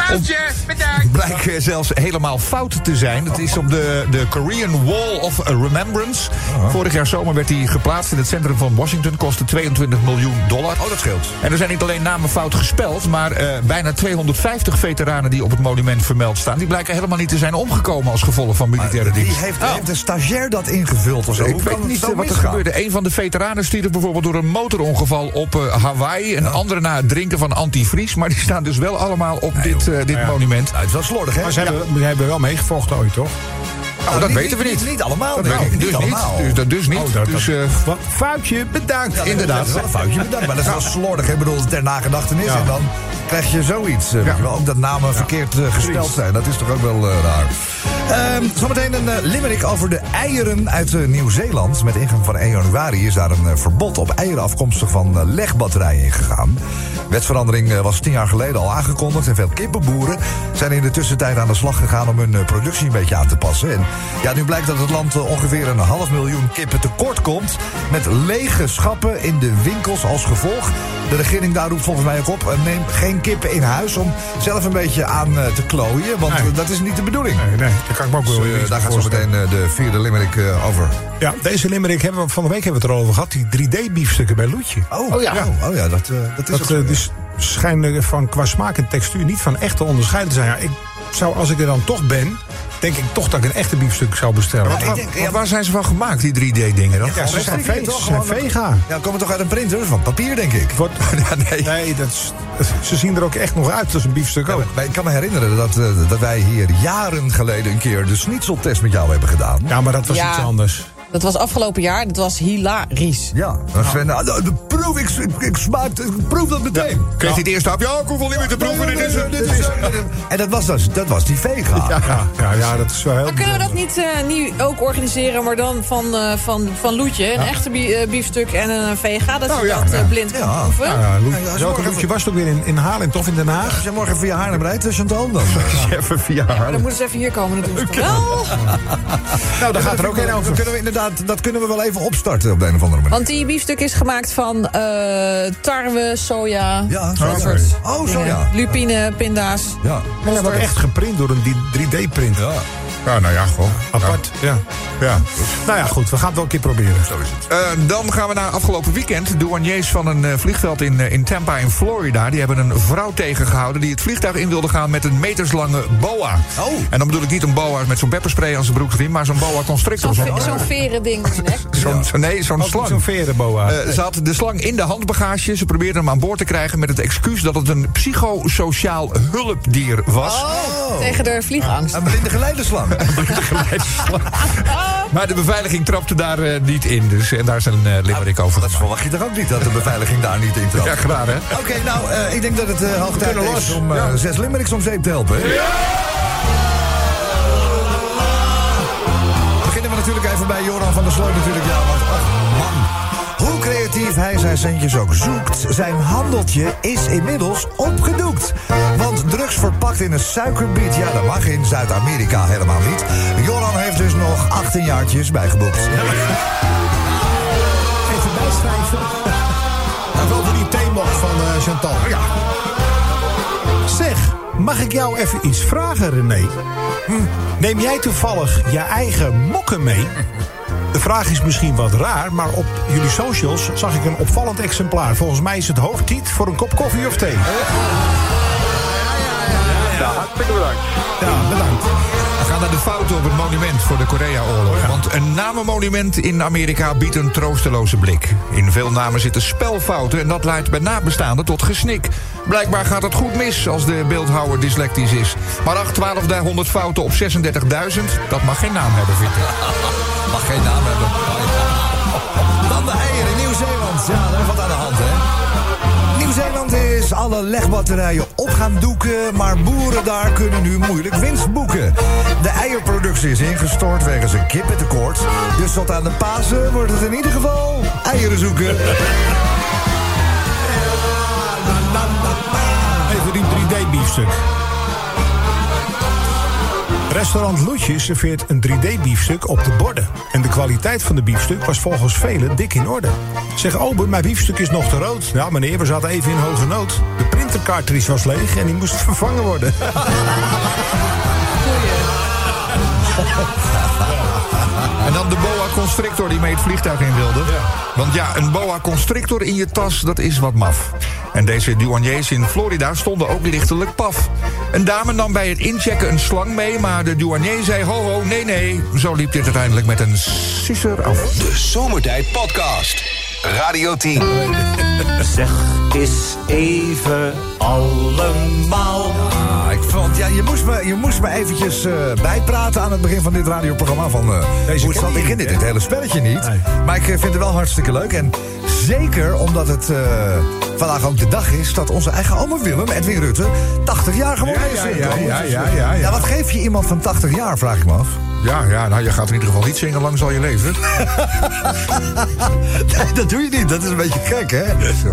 Speaker 3: Blijken zelfs helemaal fout te zijn. Het is op de, de Korean Wall of Remembrance. Vorig jaar zomer werd die geplaatst in het centrum van Washington. Kostte 22 miljoen dollar.
Speaker 2: Oh, dat scheelt.
Speaker 3: En er zijn niet alleen namen fout gespeld, maar eh, bijna 250 veteranen die op het monument vermeld staan, die blijken helemaal niet te zijn omgekomen als gevolg van militaire
Speaker 2: Die
Speaker 3: dienst. Oh.
Speaker 2: heeft, heeft een stagiair dat ingevuld of zo.
Speaker 3: Ik
Speaker 2: Hoe kan
Speaker 3: weet
Speaker 2: het
Speaker 3: niet
Speaker 2: zo
Speaker 3: wat er
Speaker 2: misgaan?
Speaker 3: gebeurde. Een van de veteranen stierf bijvoorbeeld door een motorongeval op eh, Hawaii. Een andere na het drinken van antivries. Maar die staan dus wel allemaal op dit, eh, dit monument.
Speaker 2: Nou, het is wel slordig, hè? Nou,
Speaker 5: Maar ze hebben, ze hebben wel meegevochten ooit, toch?
Speaker 3: Oh, dat weten we niet.
Speaker 2: Niet, allemaal.
Speaker 3: Dat
Speaker 2: nee.
Speaker 3: weet ik
Speaker 2: niet
Speaker 3: dus niet.
Speaker 2: allemaal.
Speaker 3: Dus, dat dus niet.
Speaker 5: Oh,
Speaker 3: dus, eh,
Speaker 5: Wat, foutje, bedankt.
Speaker 2: Ja,
Speaker 3: inderdaad.
Speaker 2: dat is wel een foutje bedankt. Maar dat is wel slordig, hè? Ik bedoel, ter nagedachtenis.
Speaker 5: Ja.
Speaker 2: En dan krijg je zoiets. eh,
Speaker 3: Ja.
Speaker 2: weet je wel, Ook dat namen verkeerd eh, gespeld zijn. Dat is toch ook wel eh, raar. Ehm, zometeen een eh, limerick over de eieren uit eh, Nieuw-Zeeland. Met ingang van 1 januari is daar een eh, verbod op eieren afkomstig van eh, legbatterijen ingegaan. Wetsverandering eh, was tien jaar geleden al aangekondigd. En veel kippenboeren zijn in de tussentijd aan de slag gegaan om hun eh, productie een beetje aan te passen. En ja, nu blijkt dat het land eh, ongeveer een half miljoen kippen tekort komt. Met lege schappen in de winkels als gevolg. De regering daar roept volgens mij ook op. eh, Neem geen kippen in huis om zelf een beetje aan eh, te klooien. Want
Speaker 5: Nee.
Speaker 2: eh, dat is niet de bedoeling.
Speaker 5: Nee, nee, daar kan ik me ook
Speaker 2: Dus,
Speaker 5: wel
Speaker 2: eh,
Speaker 5: weer iets
Speaker 2: daar
Speaker 5: bij
Speaker 2: gaat zo
Speaker 5: voorstellen.
Speaker 2: meteen eh, de vierde limerick eh, over.
Speaker 5: Ja, deze limerick hebben we van de week hebben we het er al over gehad. Die 3D-biefstukken bij Loetje.
Speaker 2: Oh,
Speaker 3: ja.
Speaker 2: Oh, ja, dat, eh, dat is
Speaker 5: Dat
Speaker 2: ook
Speaker 5: eh,
Speaker 2: zo, ja.
Speaker 5: dus schijnen van qua smaak en textuur niet van echt te onderscheiden zijn. Ja, ik zou, als ik er dan toch ben, denk ik toch dat ik een echte biefstuk zou bestellen.
Speaker 2: ik
Speaker 5: Want-
Speaker 2: denk-
Speaker 5: want-
Speaker 2: ja,
Speaker 3: waar zijn ze van gemaakt, die 3D-dingen dan?
Speaker 5: ja, ze
Speaker 2: Gewoon
Speaker 5: zijn,
Speaker 2: rechtstreeks,
Speaker 5: ve-
Speaker 2: toch?
Speaker 5: ze zijn
Speaker 2: Gewoon- eh,
Speaker 5: vega.
Speaker 2: Ja, komen toch uit een printer? Van papier, denk ik.
Speaker 5: Het
Speaker 2: Ah,
Speaker 5: wordt-
Speaker 3: nee.
Speaker 5: nee, dat is- ze zien er ook echt nog uit als een biefstuk
Speaker 2: Ja,
Speaker 5: ook.
Speaker 2: maar- maar ik kan me herinneren dat, eh, dat wij hier jaren geleden een keer de snitseltest met jou hebben gedaan.
Speaker 5: Ja, maar dat was
Speaker 7: Ja.
Speaker 5: iets anders.
Speaker 7: Dat was afgelopen jaar, dat was hilarisch.
Speaker 2: Ja, dan Sven, nou, nou, dat proef ik, ik, ik smaak, ik proef dat meteen.
Speaker 3: Kreeg hij het eerste hapje? Ja, ik hoef al niet meer te proeven. Dit is, dit is,
Speaker 2: En dat was, dus, dat was die vega.
Speaker 5: Ja, ja, ja, dat is wel heel
Speaker 7: Maar kunnen we dat niet eh, nu ook organiseren, maar dan van, eh, van, van Loetje? Een echte bie- eh, biefstuk en een vega, dat
Speaker 2: Nou
Speaker 7: je
Speaker 2: ja,
Speaker 7: dat eh,
Speaker 2: ja.
Speaker 7: blind kan
Speaker 2: Ja.
Speaker 7: proeven.
Speaker 5: Ja, ja, Loet-
Speaker 2: Ja, ja, ze
Speaker 5: welke
Speaker 2: morgen
Speaker 5: Loetje was het ook weer in, in Haarlem, toch? In Den Haag?
Speaker 2: Als jij morgen via Haarlem rijdt, tussen het dan.
Speaker 3: Even via
Speaker 7: Maar dan moeten ze even hier komen, dat doen ze toch wel?
Speaker 5: Nou, daar gaat er ook
Speaker 2: een
Speaker 5: een
Speaker 2: over.
Speaker 5: over.
Speaker 2: Kunnen we inderdaad, dat kunnen we wel even opstarten op de een of andere manier.
Speaker 7: Want die biefstuk is gemaakt van eh, tarwe, soja,
Speaker 2: Ja,
Speaker 7: dat
Speaker 2: soja.
Speaker 7: soort
Speaker 2: Oh,
Speaker 7: dingen.
Speaker 2: soja.
Speaker 7: Lupine, pinda's.
Speaker 2: Ja.
Speaker 5: Ja, wordt echt geprint door een 3D-print.
Speaker 2: Ja.
Speaker 3: Ja, nou ja, goh.
Speaker 5: Apart. Ja.
Speaker 3: Ja.
Speaker 5: Nou ja, goed. We gaan het wel een keer proberen. Zo is het.
Speaker 3: Eh, dan gaan we naar afgelopen weekend. Douaniers van een eh, vliegveld in, eh, in Tampa in Florida... die hebben een vrouw tegengehouden die het vliegtuig in wilde gaan... met een meterslange boa.
Speaker 2: Oh.
Speaker 3: En dan bedoel ik niet een boa met zo'n pepperspray aan zijn broek gezien... maar zo'n boa
Speaker 7: Zo'n
Speaker 3: constrictor.
Speaker 7: ve- zo'n veren ding om je nek.
Speaker 3: zo'n- zo'n- nee, zo'n
Speaker 5: Ook niet
Speaker 3: slang.
Speaker 5: zo'n verenboa.
Speaker 3: Eh, ze had de slang in de handbagage. Ze probeerde hem aan boord te krijgen met het excuus dat het een psychosociaal hulpdier was.
Speaker 7: Oh. Tegen de vliegangst.
Speaker 2: Ah. Een blinde geleiderslang.
Speaker 3: Geleidslang. maar de beveiliging trapte daar eh, niet in. Dus, en daar is een eh limerick over
Speaker 2: Dat
Speaker 3: gemaakt.
Speaker 2: verwacht je toch ook niet, dat de beveiliging daar niet in trapt.
Speaker 3: Ja, graag hè?
Speaker 2: Oké, nou, eh, ik denk dat het eh hoog tijd
Speaker 3: kunnen
Speaker 2: is
Speaker 3: los.
Speaker 2: om eh, zes limericks om zeep te helpen. hè? Beginnen we natuurlijk even bij Joran van der Sloot natuurlijk. Ja, want och, man. Hoe creatief hij zijn centjes ook zoekt... zijn handeltje is inmiddels opgedoekt. Want drugs verpakt in een suikerbiet... ja, dat mag in Zuid-Amerika helemaal niet. Joran heeft dus nog 18 jaartjes bijgeboekt.
Speaker 12: Even bijschrijven. En wel voor die theemok van eh, Chantal. Ja.
Speaker 5: Zeg, mag ik jou even iets vragen, René? Hm, neem jij toevallig je eigen mokken mee? De vraag is misschien wat raar, maar op jullie socials zag ik een opvallend exemplaar. Volgens mij is het hoog tijd voor een kop koffie of thee.
Speaker 13: hartstikke bedankt.
Speaker 5: Ja, bedankt.
Speaker 3: We gaan naar de fouten op het monument voor de
Speaker 2: Oh
Speaker 3: Korea-oorlog. Want een namenmonument in Amerika biedt een troosteloze blik. In veel namen zitten spelfouten en dat leidt bij nabestaanden tot gesnik. Blijkbaar gaat het goed mis als de beeldhouwer dyslectisch is. Maar ach, 1200 fouten op 36.000, dat mag geen naam hebben, vind ik.
Speaker 2: Mag geen naam hebben. Dan de eieren in Nieuw-Zeeland. Ja, daar is wat aan de hand, hè? Nieuw-Zeeland is alle legbatterijen op gaan doeken... maar boeren daar kunnen nu moeilijk winst boeken. De eierproductie is ingestort wegens een kippentekort... dus tot aan de Pasen wordt het in ieder geval eieren zoeken.
Speaker 5: Even die 3D-biefstuk. Restaurant Loetje serveert een 3D-biefstuk op de borden. En de kwaliteit van de biefstuk was volgens velen dik in orde. Zeg, Ober, mijn biefstuk is nog te rood. Ja, meneer, we zaten even in hoge nood. De printercartridge was leeg en die moest vervangen worden.
Speaker 3: En dan de boa constrictor die mee het vliegtuig in wilde. Want ja, een boa constrictor in je tas, dat is wat maf. En deze douaniers in Florida stonden ook lichtelijk paf. Een dame nam bij het inchecken een slang mee, maar de douanier zei: ho, ho, nee, nee. Zo liep dit uiteindelijk met een sisser af.
Speaker 1: De Zomertijd Podcast. Radio 10.
Speaker 4: Zeg eens even allemaal.
Speaker 2: Ah, ik vond, ja, je moest me, je moest me eventjes eh, bijpraten aan het begin van dit radioprogramma. Van, eh,
Speaker 5: Deze
Speaker 2: hoe het
Speaker 5: ken
Speaker 2: zat.
Speaker 5: je
Speaker 2: Ik ken
Speaker 5: niet,
Speaker 2: dit,
Speaker 5: hè?
Speaker 2: dit hele spelletje niet.
Speaker 5: Nee.
Speaker 2: Maar ik eh, vind het wel hartstikke leuk. En zeker omdat het eh, vandaag ook de dag is dat onze eigen oma Willem, Edwin Rutte, 80 jaar geworden is.
Speaker 5: Ja, ja, ja, ja, ja, ja, ja.
Speaker 2: Ja, Nou, wat geef je iemand van 80 jaar, vraag ik me af.
Speaker 3: Ja, ja, nou, je gaat in ieder geval niet zingen lang zal je leven.
Speaker 2: Nee, dat doe je niet. Dat is een beetje gek, hè?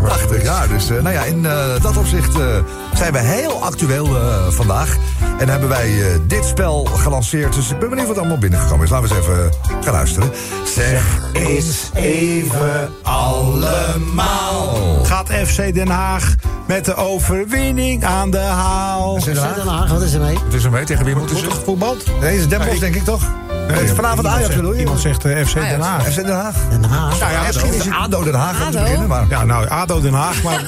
Speaker 2: 80 jaar. Dus eh, nou ja, in eh, dat opzicht eh, zijn we heel actueel eh, vandaag. En hebben wij eh, dit spel gelanceerd. Dus ik ben benieuwd wat allemaal binnengekomen is. Laten we eens even eh, gaan luisteren. Zeg eens even allemaal.
Speaker 5: Gaat FC Den Haag met de overwinning aan de haal.
Speaker 2: Zit
Speaker 9: Zet
Speaker 2: er
Speaker 9: hem
Speaker 2: aan?
Speaker 9: aan, wat is ermee?
Speaker 3: Het is een mee tegen wie moeten ze?
Speaker 5: dus Voetbal?
Speaker 2: Nee, is Den Bosch, denk ik toch? Het is vanavond
Speaker 5: Iemand
Speaker 2: Ajax,
Speaker 5: zegt-
Speaker 2: bedoel je?
Speaker 5: Iemand zegt eh, FC Den Haag.
Speaker 2: FC Den Haag.
Speaker 9: Den Haag.
Speaker 2: Nou ja, misschien is het ADO Den Haag om te
Speaker 7: ADO?
Speaker 2: beginnen, maar...
Speaker 5: Ja, nou, ADO Den Haag, maar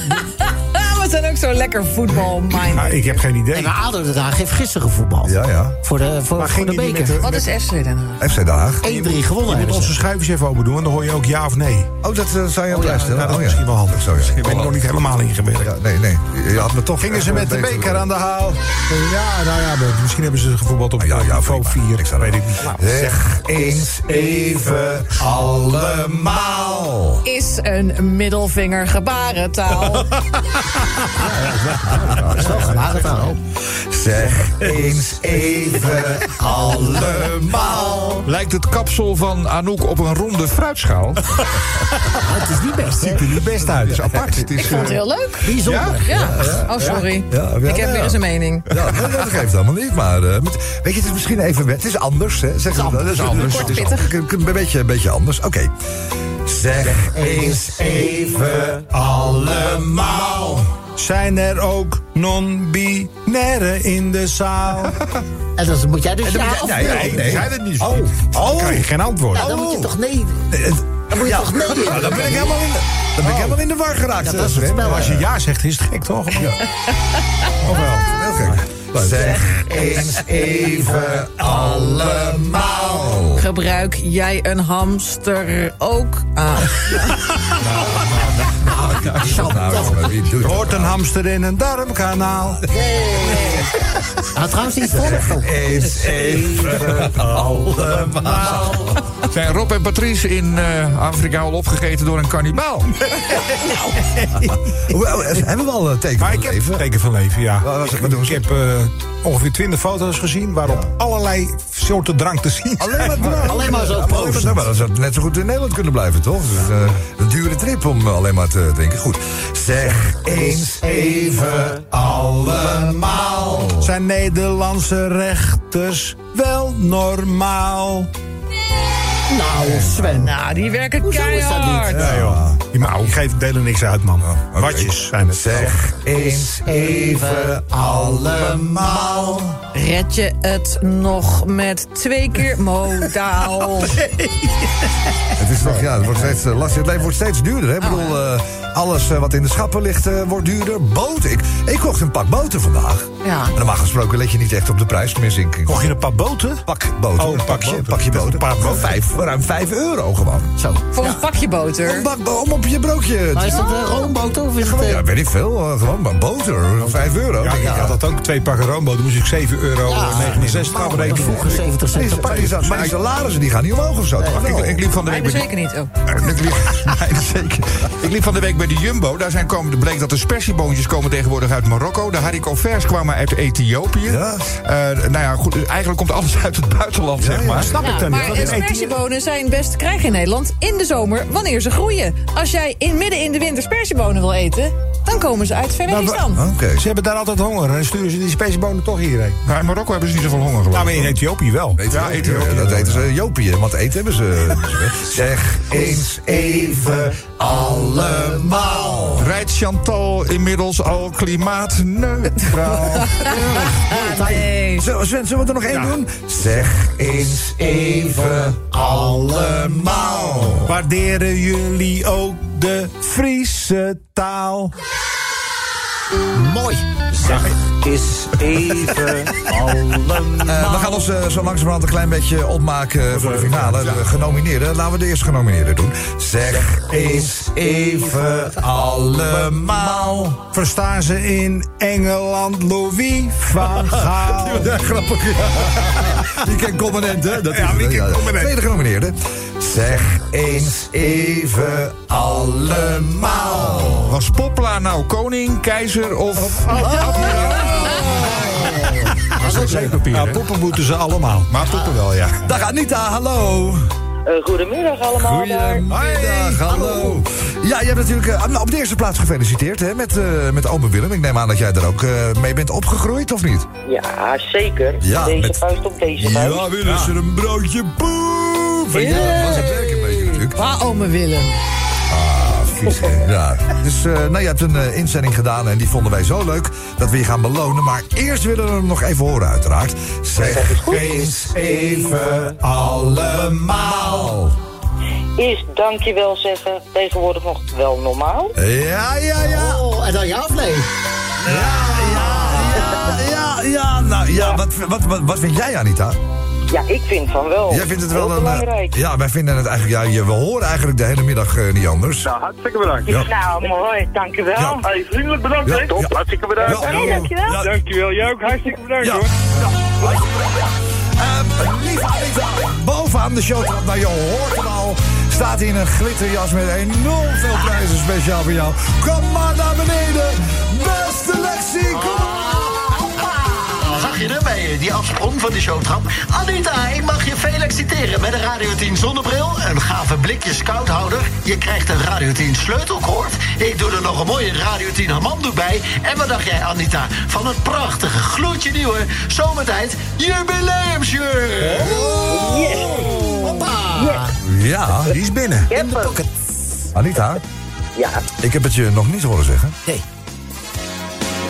Speaker 7: Ah, wat zijn ook zo lekker voetbalmind.
Speaker 5: Maar ik heb geen idee.
Speaker 9: Nee, maar ADO Den Haag heeft gisteren gevoetbald.
Speaker 2: Ja, ja.
Speaker 9: Voor de, voor, voor de beker.
Speaker 7: Wat is FC Den Haag?
Speaker 2: FC Den Haag.
Speaker 9: 1-3 gewonnen
Speaker 5: Je
Speaker 9: hebben
Speaker 5: moet
Speaker 9: ze.
Speaker 5: onze schuivers even open doen, want dan hoor je ook ja of nee.
Speaker 2: Oh, dat eh, zou je op luisteren.
Speaker 5: nou, dat is
Speaker 2: oh, ja.
Speaker 5: misschien wel handig.
Speaker 2: Zo, ja.
Speaker 5: Ik ben ik nog niet helemaal ingewerkt.
Speaker 2: Ja, nee, nee. Je had me toch.
Speaker 5: Gingen
Speaker 2: echt
Speaker 5: ze
Speaker 2: wel
Speaker 5: met de
Speaker 2: beter
Speaker 5: beker aan de
Speaker 2: willen. Ah,
Speaker 5: haal? Ja, nou ja, maar misschien hebben ze gevoetbald op
Speaker 2: ja, ja,
Speaker 5: niveau
Speaker 2: prima.
Speaker 5: 4.
Speaker 2: Niks aan de
Speaker 5: weet ik
Speaker 2: hand.
Speaker 5: niet.
Speaker 2: Zeg eens even allemaal.
Speaker 7: Is een middelvinger gebarentaal.
Speaker 9: Dat is wel gebarentaal.
Speaker 2: Zeg eens even allemaal.
Speaker 3: Lijkt het kapsel van Anouk op een ronde fruitschaal?
Speaker 9: Het is niet best, hè?
Speaker 5: Ziet er niet best uit.
Speaker 3: Dat is apart. Het
Speaker 7: Ik
Speaker 3: is,
Speaker 7: vond het
Speaker 3: eh,
Speaker 7: heel leuk.
Speaker 9: Bijzonder.
Speaker 7: Ja. Oh, sorry.
Speaker 2: Ja, ja,
Speaker 7: Ik heb
Speaker 2: ja.
Speaker 7: weer eens een mening.
Speaker 2: Ja, nee, dat geeft allemaal niet, maar... eh, met- weet je, het is misschien even... Het is anders, hè? Zeg dat is anders.
Speaker 7: Kort,
Speaker 2: Het is
Speaker 7: pittig.
Speaker 2: Een, een beetje, een beetje anders, oké. Zeg eens even allemaal.
Speaker 5: Zijn er ook non-binaire in de zaal?
Speaker 9: En dan moet jij dus
Speaker 2: En dan
Speaker 9: ja
Speaker 2: moet
Speaker 9: of
Speaker 2: jij- nee,
Speaker 9: nee.
Speaker 2: nee.
Speaker 5: Zijn het niet?
Speaker 2: Oh.
Speaker 5: Dan krijg je geen antwoord.
Speaker 9: Ja, dan moet je toch nee. Dan moet je toch nee.
Speaker 2: Nou, dan ben ik helemaal in de, dan ben ik helemaal in de war geraakt. eh,
Speaker 9: Ja, dat is het spel.
Speaker 5: Oh. Als je ja zegt, is het gek, toch? Of wel?
Speaker 2: Heel gek. Zeg eens even allemaal.
Speaker 7: Gebruik jij een hamster ook Ah. aan?
Speaker 2: Nou, wie doet dat?
Speaker 5: Hoort een hamster in een darmkanaal?
Speaker 9: Nou, trouwens, die volgt.
Speaker 2: Eens even allemaal.
Speaker 3: Zijn Rob en Patrice in eh, Afrika al opgegeten door een kannibaal?
Speaker 2: Wel, eh, Hebben we al een teken
Speaker 5: Maar
Speaker 2: van
Speaker 5: ik heb
Speaker 2: leven?
Speaker 5: teken van leven, ja.
Speaker 2: Waar was het?
Speaker 5: Ik,
Speaker 2: Wat doen
Speaker 5: ik
Speaker 2: ze?
Speaker 5: heb eh, ongeveer 20 foto's gezien waarop allerlei soorten drank te zien zijn.
Speaker 2: Alleen maar, drank.
Speaker 9: Alleen maar zo
Speaker 2: Ja,
Speaker 9: proosten.
Speaker 2: alleen maar- maar dan zou het net zo goed in Nederland kunnen blijven, toch? Dus, eh, een dure trip om eh, alleen maar te drinken. Goed. Zeg eens even allemaal.
Speaker 5: Zijn Nederlandse rechters wel normaal?
Speaker 9: Nou, Sven.
Speaker 7: Nou, die werken
Speaker 9: is dat niet?
Speaker 7: keihard.
Speaker 5: Ja, joh. Die nou, geeft delen niks uit, man. Watjes zijn het.
Speaker 2: Zeg eens even allemaal.
Speaker 7: Red je het nog met twee keer modaal?
Speaker 2: Het is toch, ja, het wordt steeds eh, lastig. Het leven wordt steeds duurder. Hè? Ik bedoel, eh, alles eh, wat in de schappen ligt eh, wordt duurder. Boten. Ik, ik kocht een pak boten vandaag.
Speaker 7: Ja.
Speaker 2: En normaal gesproken let je niet echt op de prijs. Tenminste, ik, ik
Speaker 5: Kocht je een paar boten?
Speaker 2: pak boten.
Speaker 5: Oh,
Speaker 2: een
Speaker 5: pak
Speaker 2: pakje,
Speaker 5: boten.
Speaker 2: pakje
Speaker 5: Dat is
Speaker 2: boten.
Speaker 5: een paar
Speaker 2: Voor
Speaker 5: boten.
Speaker 2: vijf, voor ruim 5 euro gewoon.
Speaker 9: Zo.
Speaker 7: Voor een pakje boter. Nou,
Speaker 2: Een bak bo- om op je broodje.
Speaker 9: Maar
Speaker 2: te-
Speaker 9: is
Speaker 7: eh,
Speaker 9: dat een roomboter of is het... eh,
Speaker 2: Ja, weet ik veel. eh, gewoon maar boter. 5 euro.
Speaker 5: Ja,
Speaker 2: Denk
Speaker 5: ik had dat ook. Twee pakken roomboten moest ik 7,69 euro eh, afrekenen.
Speaker 9: Vroeger 70
Speaker 2: Nee,
Speaker 9: cent.
Speaker 2: ze- maar die zat- maar die salarissen die gaan niet omhoog of zo. toch?
Speaker 3: Ik, ik liep van de week
Speaker 7: Nee,
Speaker 3: met
Speaker 7: zeker niet. Oh.
Speaker 3: Ik Nou, liep, nee, zeker. Ik liep van de week bij de Jumbo. Daar zijn komen, bleek dat de spersieboontjes komen tegenwoordig uit Marokko. De haricot vers kwamen uit Ethiopië.
Speaker 2: Ja.
Speaker 3: Eh, nou ja, goed, eigenlijk komt alles uit het buitenland, zeg maar.
Speaker 5: Snap ik
Speaker 7: Ja,
Speaker 5: dan
Speaker 7: Nou,
Speaker 5: niet.
Speaker 7: maar eh,
Speaker 5: Dat is echt-
Speaker 7: spersiebonen zijn best te krijgen in Nederland in de zomer wanneer ze groeien. Als jij in midden in de winter spersiebonen wil eten, dan komen ze uit Verwegistan.
Speaker 2: Oké.
Speaker 5: Ze hebben daar altijd honger en dan sturen ze die spacebonen toch hierheen.
Speaker 3: Maar in Marokko hebben ze niet zoveel honger
Speaker 5: Nou,
Speaker 3: geloof
Speaker 5: maar
Speaker 3: ik.
Speaker 5: in Ethiopië wel.
Speaker 2: Ja, Ethiopië. Dat eten ze Jopië, want eten hebben ze. zeg eens even allemaal.
Speaker 3: Rijdt Chantal inmiddels al klimaatneutraal?
Speaker 7: Nee.
Speaker 2: Zo, Sven, zullen we er nog één doen? Zeg eens even allemaal.
Speaker 5: Waarderen jullie ook de Friese taal?
Speaker 9: Mooi.
Speaker 4: Zeg eens even allemaal.
Speaker 2: we gaan ons eh, zo langzamerhand een klein beetje opmaken voor de finale. De genomineerden. Laten we de eerste genomineerde doen. Zeg eens even allemaal.
Speaker 5: Verstaan ze in Engeland Louis van Gaal?
Speaker 2: Ja, grappig. Ja. Weekend Component, hè? Dat is
Speaker 5: Ja,
Speaker 2: het, hè?
Speaker 5: Weekend Component.
Speaker 2: Tweede genomineerde. Zeg eens even allemaal.
Speaker 3: Was Popla nou koning, keizer of...
Speaker 5: Dat is
Speaker 3: zeepapier,
Speaker 5: Ja,
Speaker 3: hè?
Speaker 5: poppen moeten ze allemaal.
Speaker 3: Maar poppen wel, ja.
Speaker 2: Dag Anita, hallo.
Speaker 10: Eh, goedemiddag allemaal. daar.
Speaker 2: Goedemiddag, hallo. Ja, je hebt natuurlijk eh, nou, op de eerste plaats gefeliciteerd hè, met, eh met Ome Willem. Ik neem aan dat jij daar ook eh, mee bent opgegroeid, of niet?
Speaker 10: Ja, zeker.
Speaker 2: Ja,
Speaker 10: deze
Speaker 2: met-
Speaker 10: vuist op deze vuist.
Speaker 2: willen ze een broodje poef? Ja, dat was het werk een beetje natuurlijk.
Speaker 7: Waar ome Willem?
Speaker 2: Vies, hè? Ja. Dus eh, nou, je hebt een eh, inzending gedaan en die vonden wij zo leuk dat we je gaan belonen. Maar eerst willen we hem nog even horen, uiteraard. Zeg eens even allemaal.
Speaker 10: is dankjewel zeggen tegenwoordig nog wel normaal.
Speaker 2: Ja, ja, ja.
Speaker 9: Oh, en dan ja of nee?
Speaker 2: Ja, ja, nou ja, wat, wat, wat, wat vind jij, Anita?
Speaker 10: Ja, ik vind van wel.
Speaker 2: Jij vindt het wel
Speaker 10: Heel
Speaker 2: een. eh,
Speaker 10: belangrijk.
Speaker 2: ja, wij vinden het eigenlijk. Ja, je- we horen eigenlijk de hele middag eh, niet anders.
Speaker 13: Nou, hartstikke bedankt.
Speaker 2: Ja.
Speaker 10: Nou, mooi, dankjewel.
Speaker 2: Ja.
Speaker 13: Hey, vriendelijk bedankt,
Speaker 2: Ja,
Speaker 13: hè?
Speaker 2: top, ja.
Speaker 13: Hartstikke bedankt.
Speaker 2: Ja, Hey, dankjewel. ja.
Speaker 13: Dankjewel, jij ook. Hartstikke bedankt,
Speaker 2: Ja.
Speaker 13: hoor.
Speaker 2: Eh, lieve Anita, bovenaan de showtrap, nou je hoort hem al, staat hier een glitterjas met enorm veel prijzen speciaal voor jou. Kom maar naar beneden, beste Lexi, kom
Speaker 14: Zag je hem bij die afsprong van de showtrap? Anita, ik mag je veel exciteren met een Radio 10 zonnebril, een gave blikje scouthouder. Je krijgt een Radio 10 sleutelkoord. Ik doe er nog een mooie Radio 10 hamandoe bij. En wat dacht jij, Anita, van het prachtige, gloedje nieuwe zomertijd jubileumshirt?
Speaker 10: Yes.
Speaker 14: Yes.
Speaker 2: Ja, die is binnen.
Speaker 10: In de
Speaker 9: pocket.
Speaker 2: Anita?
Speaker 10: Ja?
Speaker 2: Ik heb het je nog niet horen zeggen.
Speaker 9: Nee.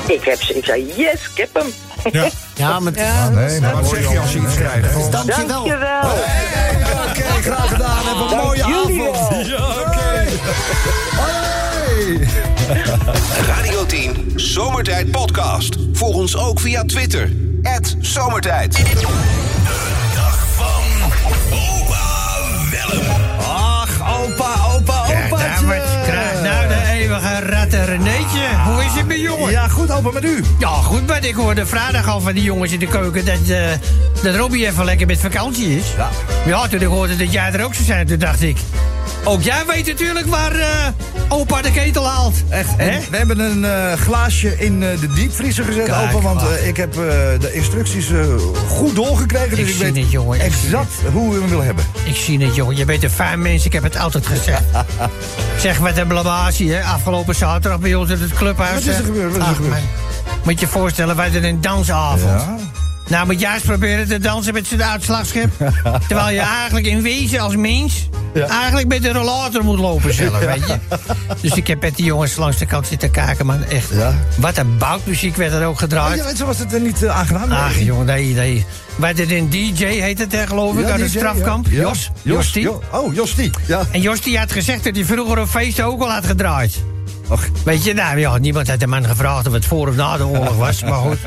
Speaker 10: Ik, heb, ze- ik zei yes, ik heb hem.
Speaker 2: Ja.
Speaker 9: Ja, maar...
Speaker 2: nee, maar wat zeg je als je iets krijgt? Gewoon-
Speaker 9: Dankjewel.
Speaker 2: Oké, graag gedaan. Heb een mooie avond. Ja, oké.
Speaker 1: Radio 10 Zomertijd Podcast. Volg ons ook via Twitter. Zomertijd.
Speaker 2: Ach, opa, opa, opa.
Speaker 11: daar wordt kra- nou de eeuwige rattenreneetje. Hoe is het met jongen?
Speaker 2: Ja, goed opa, met u?
Speaker 11: Ja, goed maar ik hoorde vrijdag al van die jongens in de keuken dat, eh dat Robbie even lekker met vakantie is. Ja. Ja, toen ik hoorde dat jij er ook zou zijn, toen dacht ik... Ook jij weet natuurlijk waar eh, opa de ketel haalt.
Speaker 2: Echt, en we hebben een eh, glaasje in eh, de diepvriezer gezet,
Speaker 11: Kijk,
Speaker 2: opa. Want eh,
Speaker 11: ach.
Speaker 2: ik heb eh, de instructies eh, goed doorgekregen. Dus
Speaker 11: Ik
Speaker 2: ik
Speaker 11: zie
Speaker 2: weet
Speaker 11: het, jongen, ik zie
Speaker 2: exact hoe we hem willen hebben.
Speaker 11: Ik zie het, jongen. Je bent een fijn mens. Ik heb het altijd gezegd. zeg, wat een blamage, hè? Afgelopen zaterdag bij ons in het clubhuis.
Speaker 2: Wat is er
Speaker 11: hè?
Speaker 2: gebeurd? Wat is er
Speaker 11: Ach,
Speaker 2: gebeurd?
Speaker 11: man. Moet je voorstellen, wij hadden een dansavond.
Speaker 2: Ja.
Speaker 11: Nou, moet jij eens proberen te dansen met zijn uitslagschip. Terwijl je eigenlijk in wezen als mens... eigenlijk met een rollator moet lopen zelf, weet je. Dus ik heb met die jongens langs de kant zitten kijken, man. Echt, wat een boutmuziek werd er ook
Speaker 2: Maar
Speaker 11: gedraaid.
Speaker 2: je weet, zo was het er niet eh, aangenaam. Nee.
Speaker 11: Ach jongen, nee, nee. Wij dit een DJ heet het, hè, geloof ik,
Speaker 2: Ja,
Speaker 11: uit het
Speaker 2: DJ,
Speaker 11: strafkamp.
Speaker 2: ja. Ja.
Speaker 11: Jos.
Speaker 2: Jos,
Speaker 11: Jostie.
Speaker 2: Jo- oh, Jostie. Ja.
Speaker 11: En Jostie had gezegd dat hij vroeger op feesten ook al had gedraaid. Weet je, nou ja, niemand had de man gevraagd of het voor of na de oorlog was. Maar goed.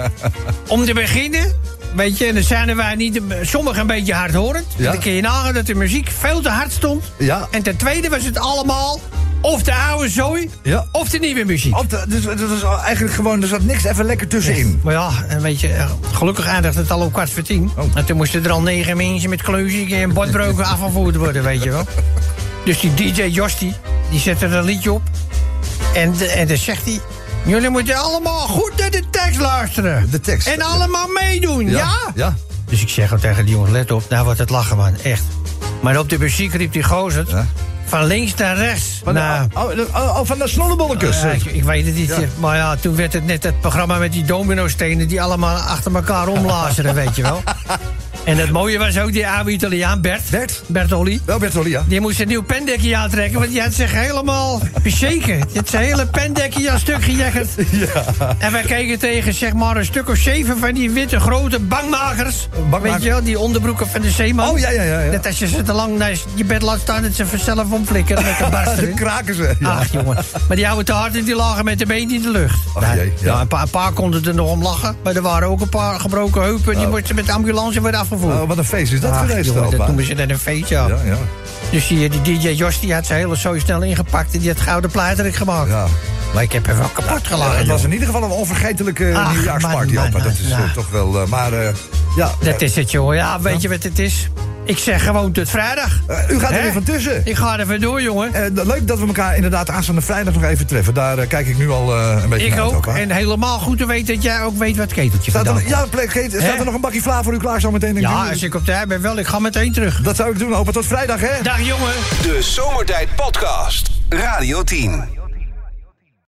Speaker 11: Om te beginnen, weet je, en dan zijn wij niet, sommigen een beetje hardhorend.
Speaker 2: Ja.
Speaker 11: Dan kun je nagaan dat de muziek veel te hard stond.
Speaker 2: Ja.
Speaker 11: En ten tweede was het allemaal of de oude zooi,
Speaker 2: Ja.
Speaker 11: of de nieuwe muziek.
Speaker 2: Op de- dus het was eigenlijk gewoon, er zat niks even lekker tussenin.
Speaker 11: Maar ja, en weet je, eh, gelukkig eindigde het al om kwart voor tien.
Speaker 2: Oh.
Speaker 11: En toen moesten er al negen mensen met kleuzieken en botbroken afgevoerd worden, weet je wel. Dus die DJ Jostie, die zette er een liedje op. En, de- en dan zegt hij... Jullie moeten allemaal goed naar de tekst luisteren.
Speaker 2: De tekst.
Speaker 11: En allemaal meedoen, ja?
Speaker 2: Ja.
Speaker 11: Dus ik zeg ook tegen die jongens, let op, nou wordt het lachen, man. Echt. Maar op de muziek riep die gozer... Van links naar rechts.
Speaker 2: Van de-
Speaker 11: nou,
Speaker 2: oh, de- oh, oh, van de snollebollekes.
Speaker 11: ja, ik, ik weet het niet.
Speaker 2: Ja.
Speaker 11: Maar ja, toen werd het net het programma met die domino-stenen... die allemaal achter elkaar omlazeren, weet je wel. En het mooie was ook die oude Italiaan, Bert.
Speaker 2: Bert?
Speaker 11: Bertolli.
Speaker 2: Wel Bertolli, ja.
Speaker 11: Die moest een nieuw pendekje aantrekken, want die had zich helemaal bezekerd. Het zijn hele pendekje aan stuk gejekkerd. En wij keken tegen zeg maar een stuk of zeven van die witte grote bangmakers.
Speaker 2: Bangmaker.
Speaker 11: Weet je wel, die onderbroeken van de zeeman.
Speaker 2: Oh, ja, ja, ja, ja.
Speaker 11: Dat als je ze te lang naar je bed laat staan, dat ze vanzelf omflikkeren met een barsten.
Speaker 2: Dan kraken ze. Ja.
Speaker 11: Ach jongen, maar die oude taarten die lagen met de been in de lucht.
Speaker 2: Ach, jee, ja.
Speaker 11: ja. een, paar, een paar konden er nog om lachen, maar er waren ook een paar gebroken heupen. Die moesten met de ambulance worden afgevoerd.
Speaker 2: Oh, wat een feest is dat
Speaker 11: Ach,
Speaker 2: geweest,
Speaker 11: jongen,
Speaker 2: opa.
Speaker 11: dat noemen ze net een feestje.
Speaker 2: Ja, ja.
Speaker 11: Dus die, die DJ Jos die had zijn hele zooi snel ingepakt en die had gouden platerik gemaakt.
Speaker 2: Ja.
Speaker 11: Maar ik heb hem wel kapot gelachen.
Speaker 2: het was
Speaker 11: jongen.
Speaker 2: in ieder geval een onvergetelijke
Speaker 11: Ach,
Speaker 2: nieuwjaarsparty,
Speaker 11: man,
Speaker 2: opa.
Speaker 11: man,
Speaker 2: Dat is eh,
Speaker 11: man.
Speaker 2: toch wel... eh, maar eh, ja,
Speaker 11: Dat is het, jongen. Ja, weet je wat het is? Ik zeg gewoon tot vrijdag.
Speaker 2: Eh, u gaat er
Speaker 11: Hè?
Speaker 2: weer van tussen.
Speaker 11: Ik ga er van door, jongen.
Speaker 2: Eh, leuk dat we elkaar inderdaad aanstaande vrijdag nog even treffen. Daar eh, kijk ik nu al eh, een beetje
Speaker 11: Ik
Speaker 2: naar uit,
Speaker 11: ook.
Speaker 2: opa.
Speaker 11: En helemaal goed te weten dat jij ook weet wat keteltje
Speaker 2: Staat
Speaker 11: vandaan
Speaker 2: er,
Speaker 11: komt.
Speaker 2: ja, plek, Geet, staat
Speaker 11: Hè?
Speaker 2: er nog een bakje vla voor u klaar zo meteen?
Speaker 11: Ja, als ik op tijd ben wel. Ik ga meteen terug.
Speaker 2: Dat zou ik doen, opa. Tot vrijdag, hè?
Speaker 11: Dag jongen.
Speaker 1: De Zomertijd Podcast. Radio 10.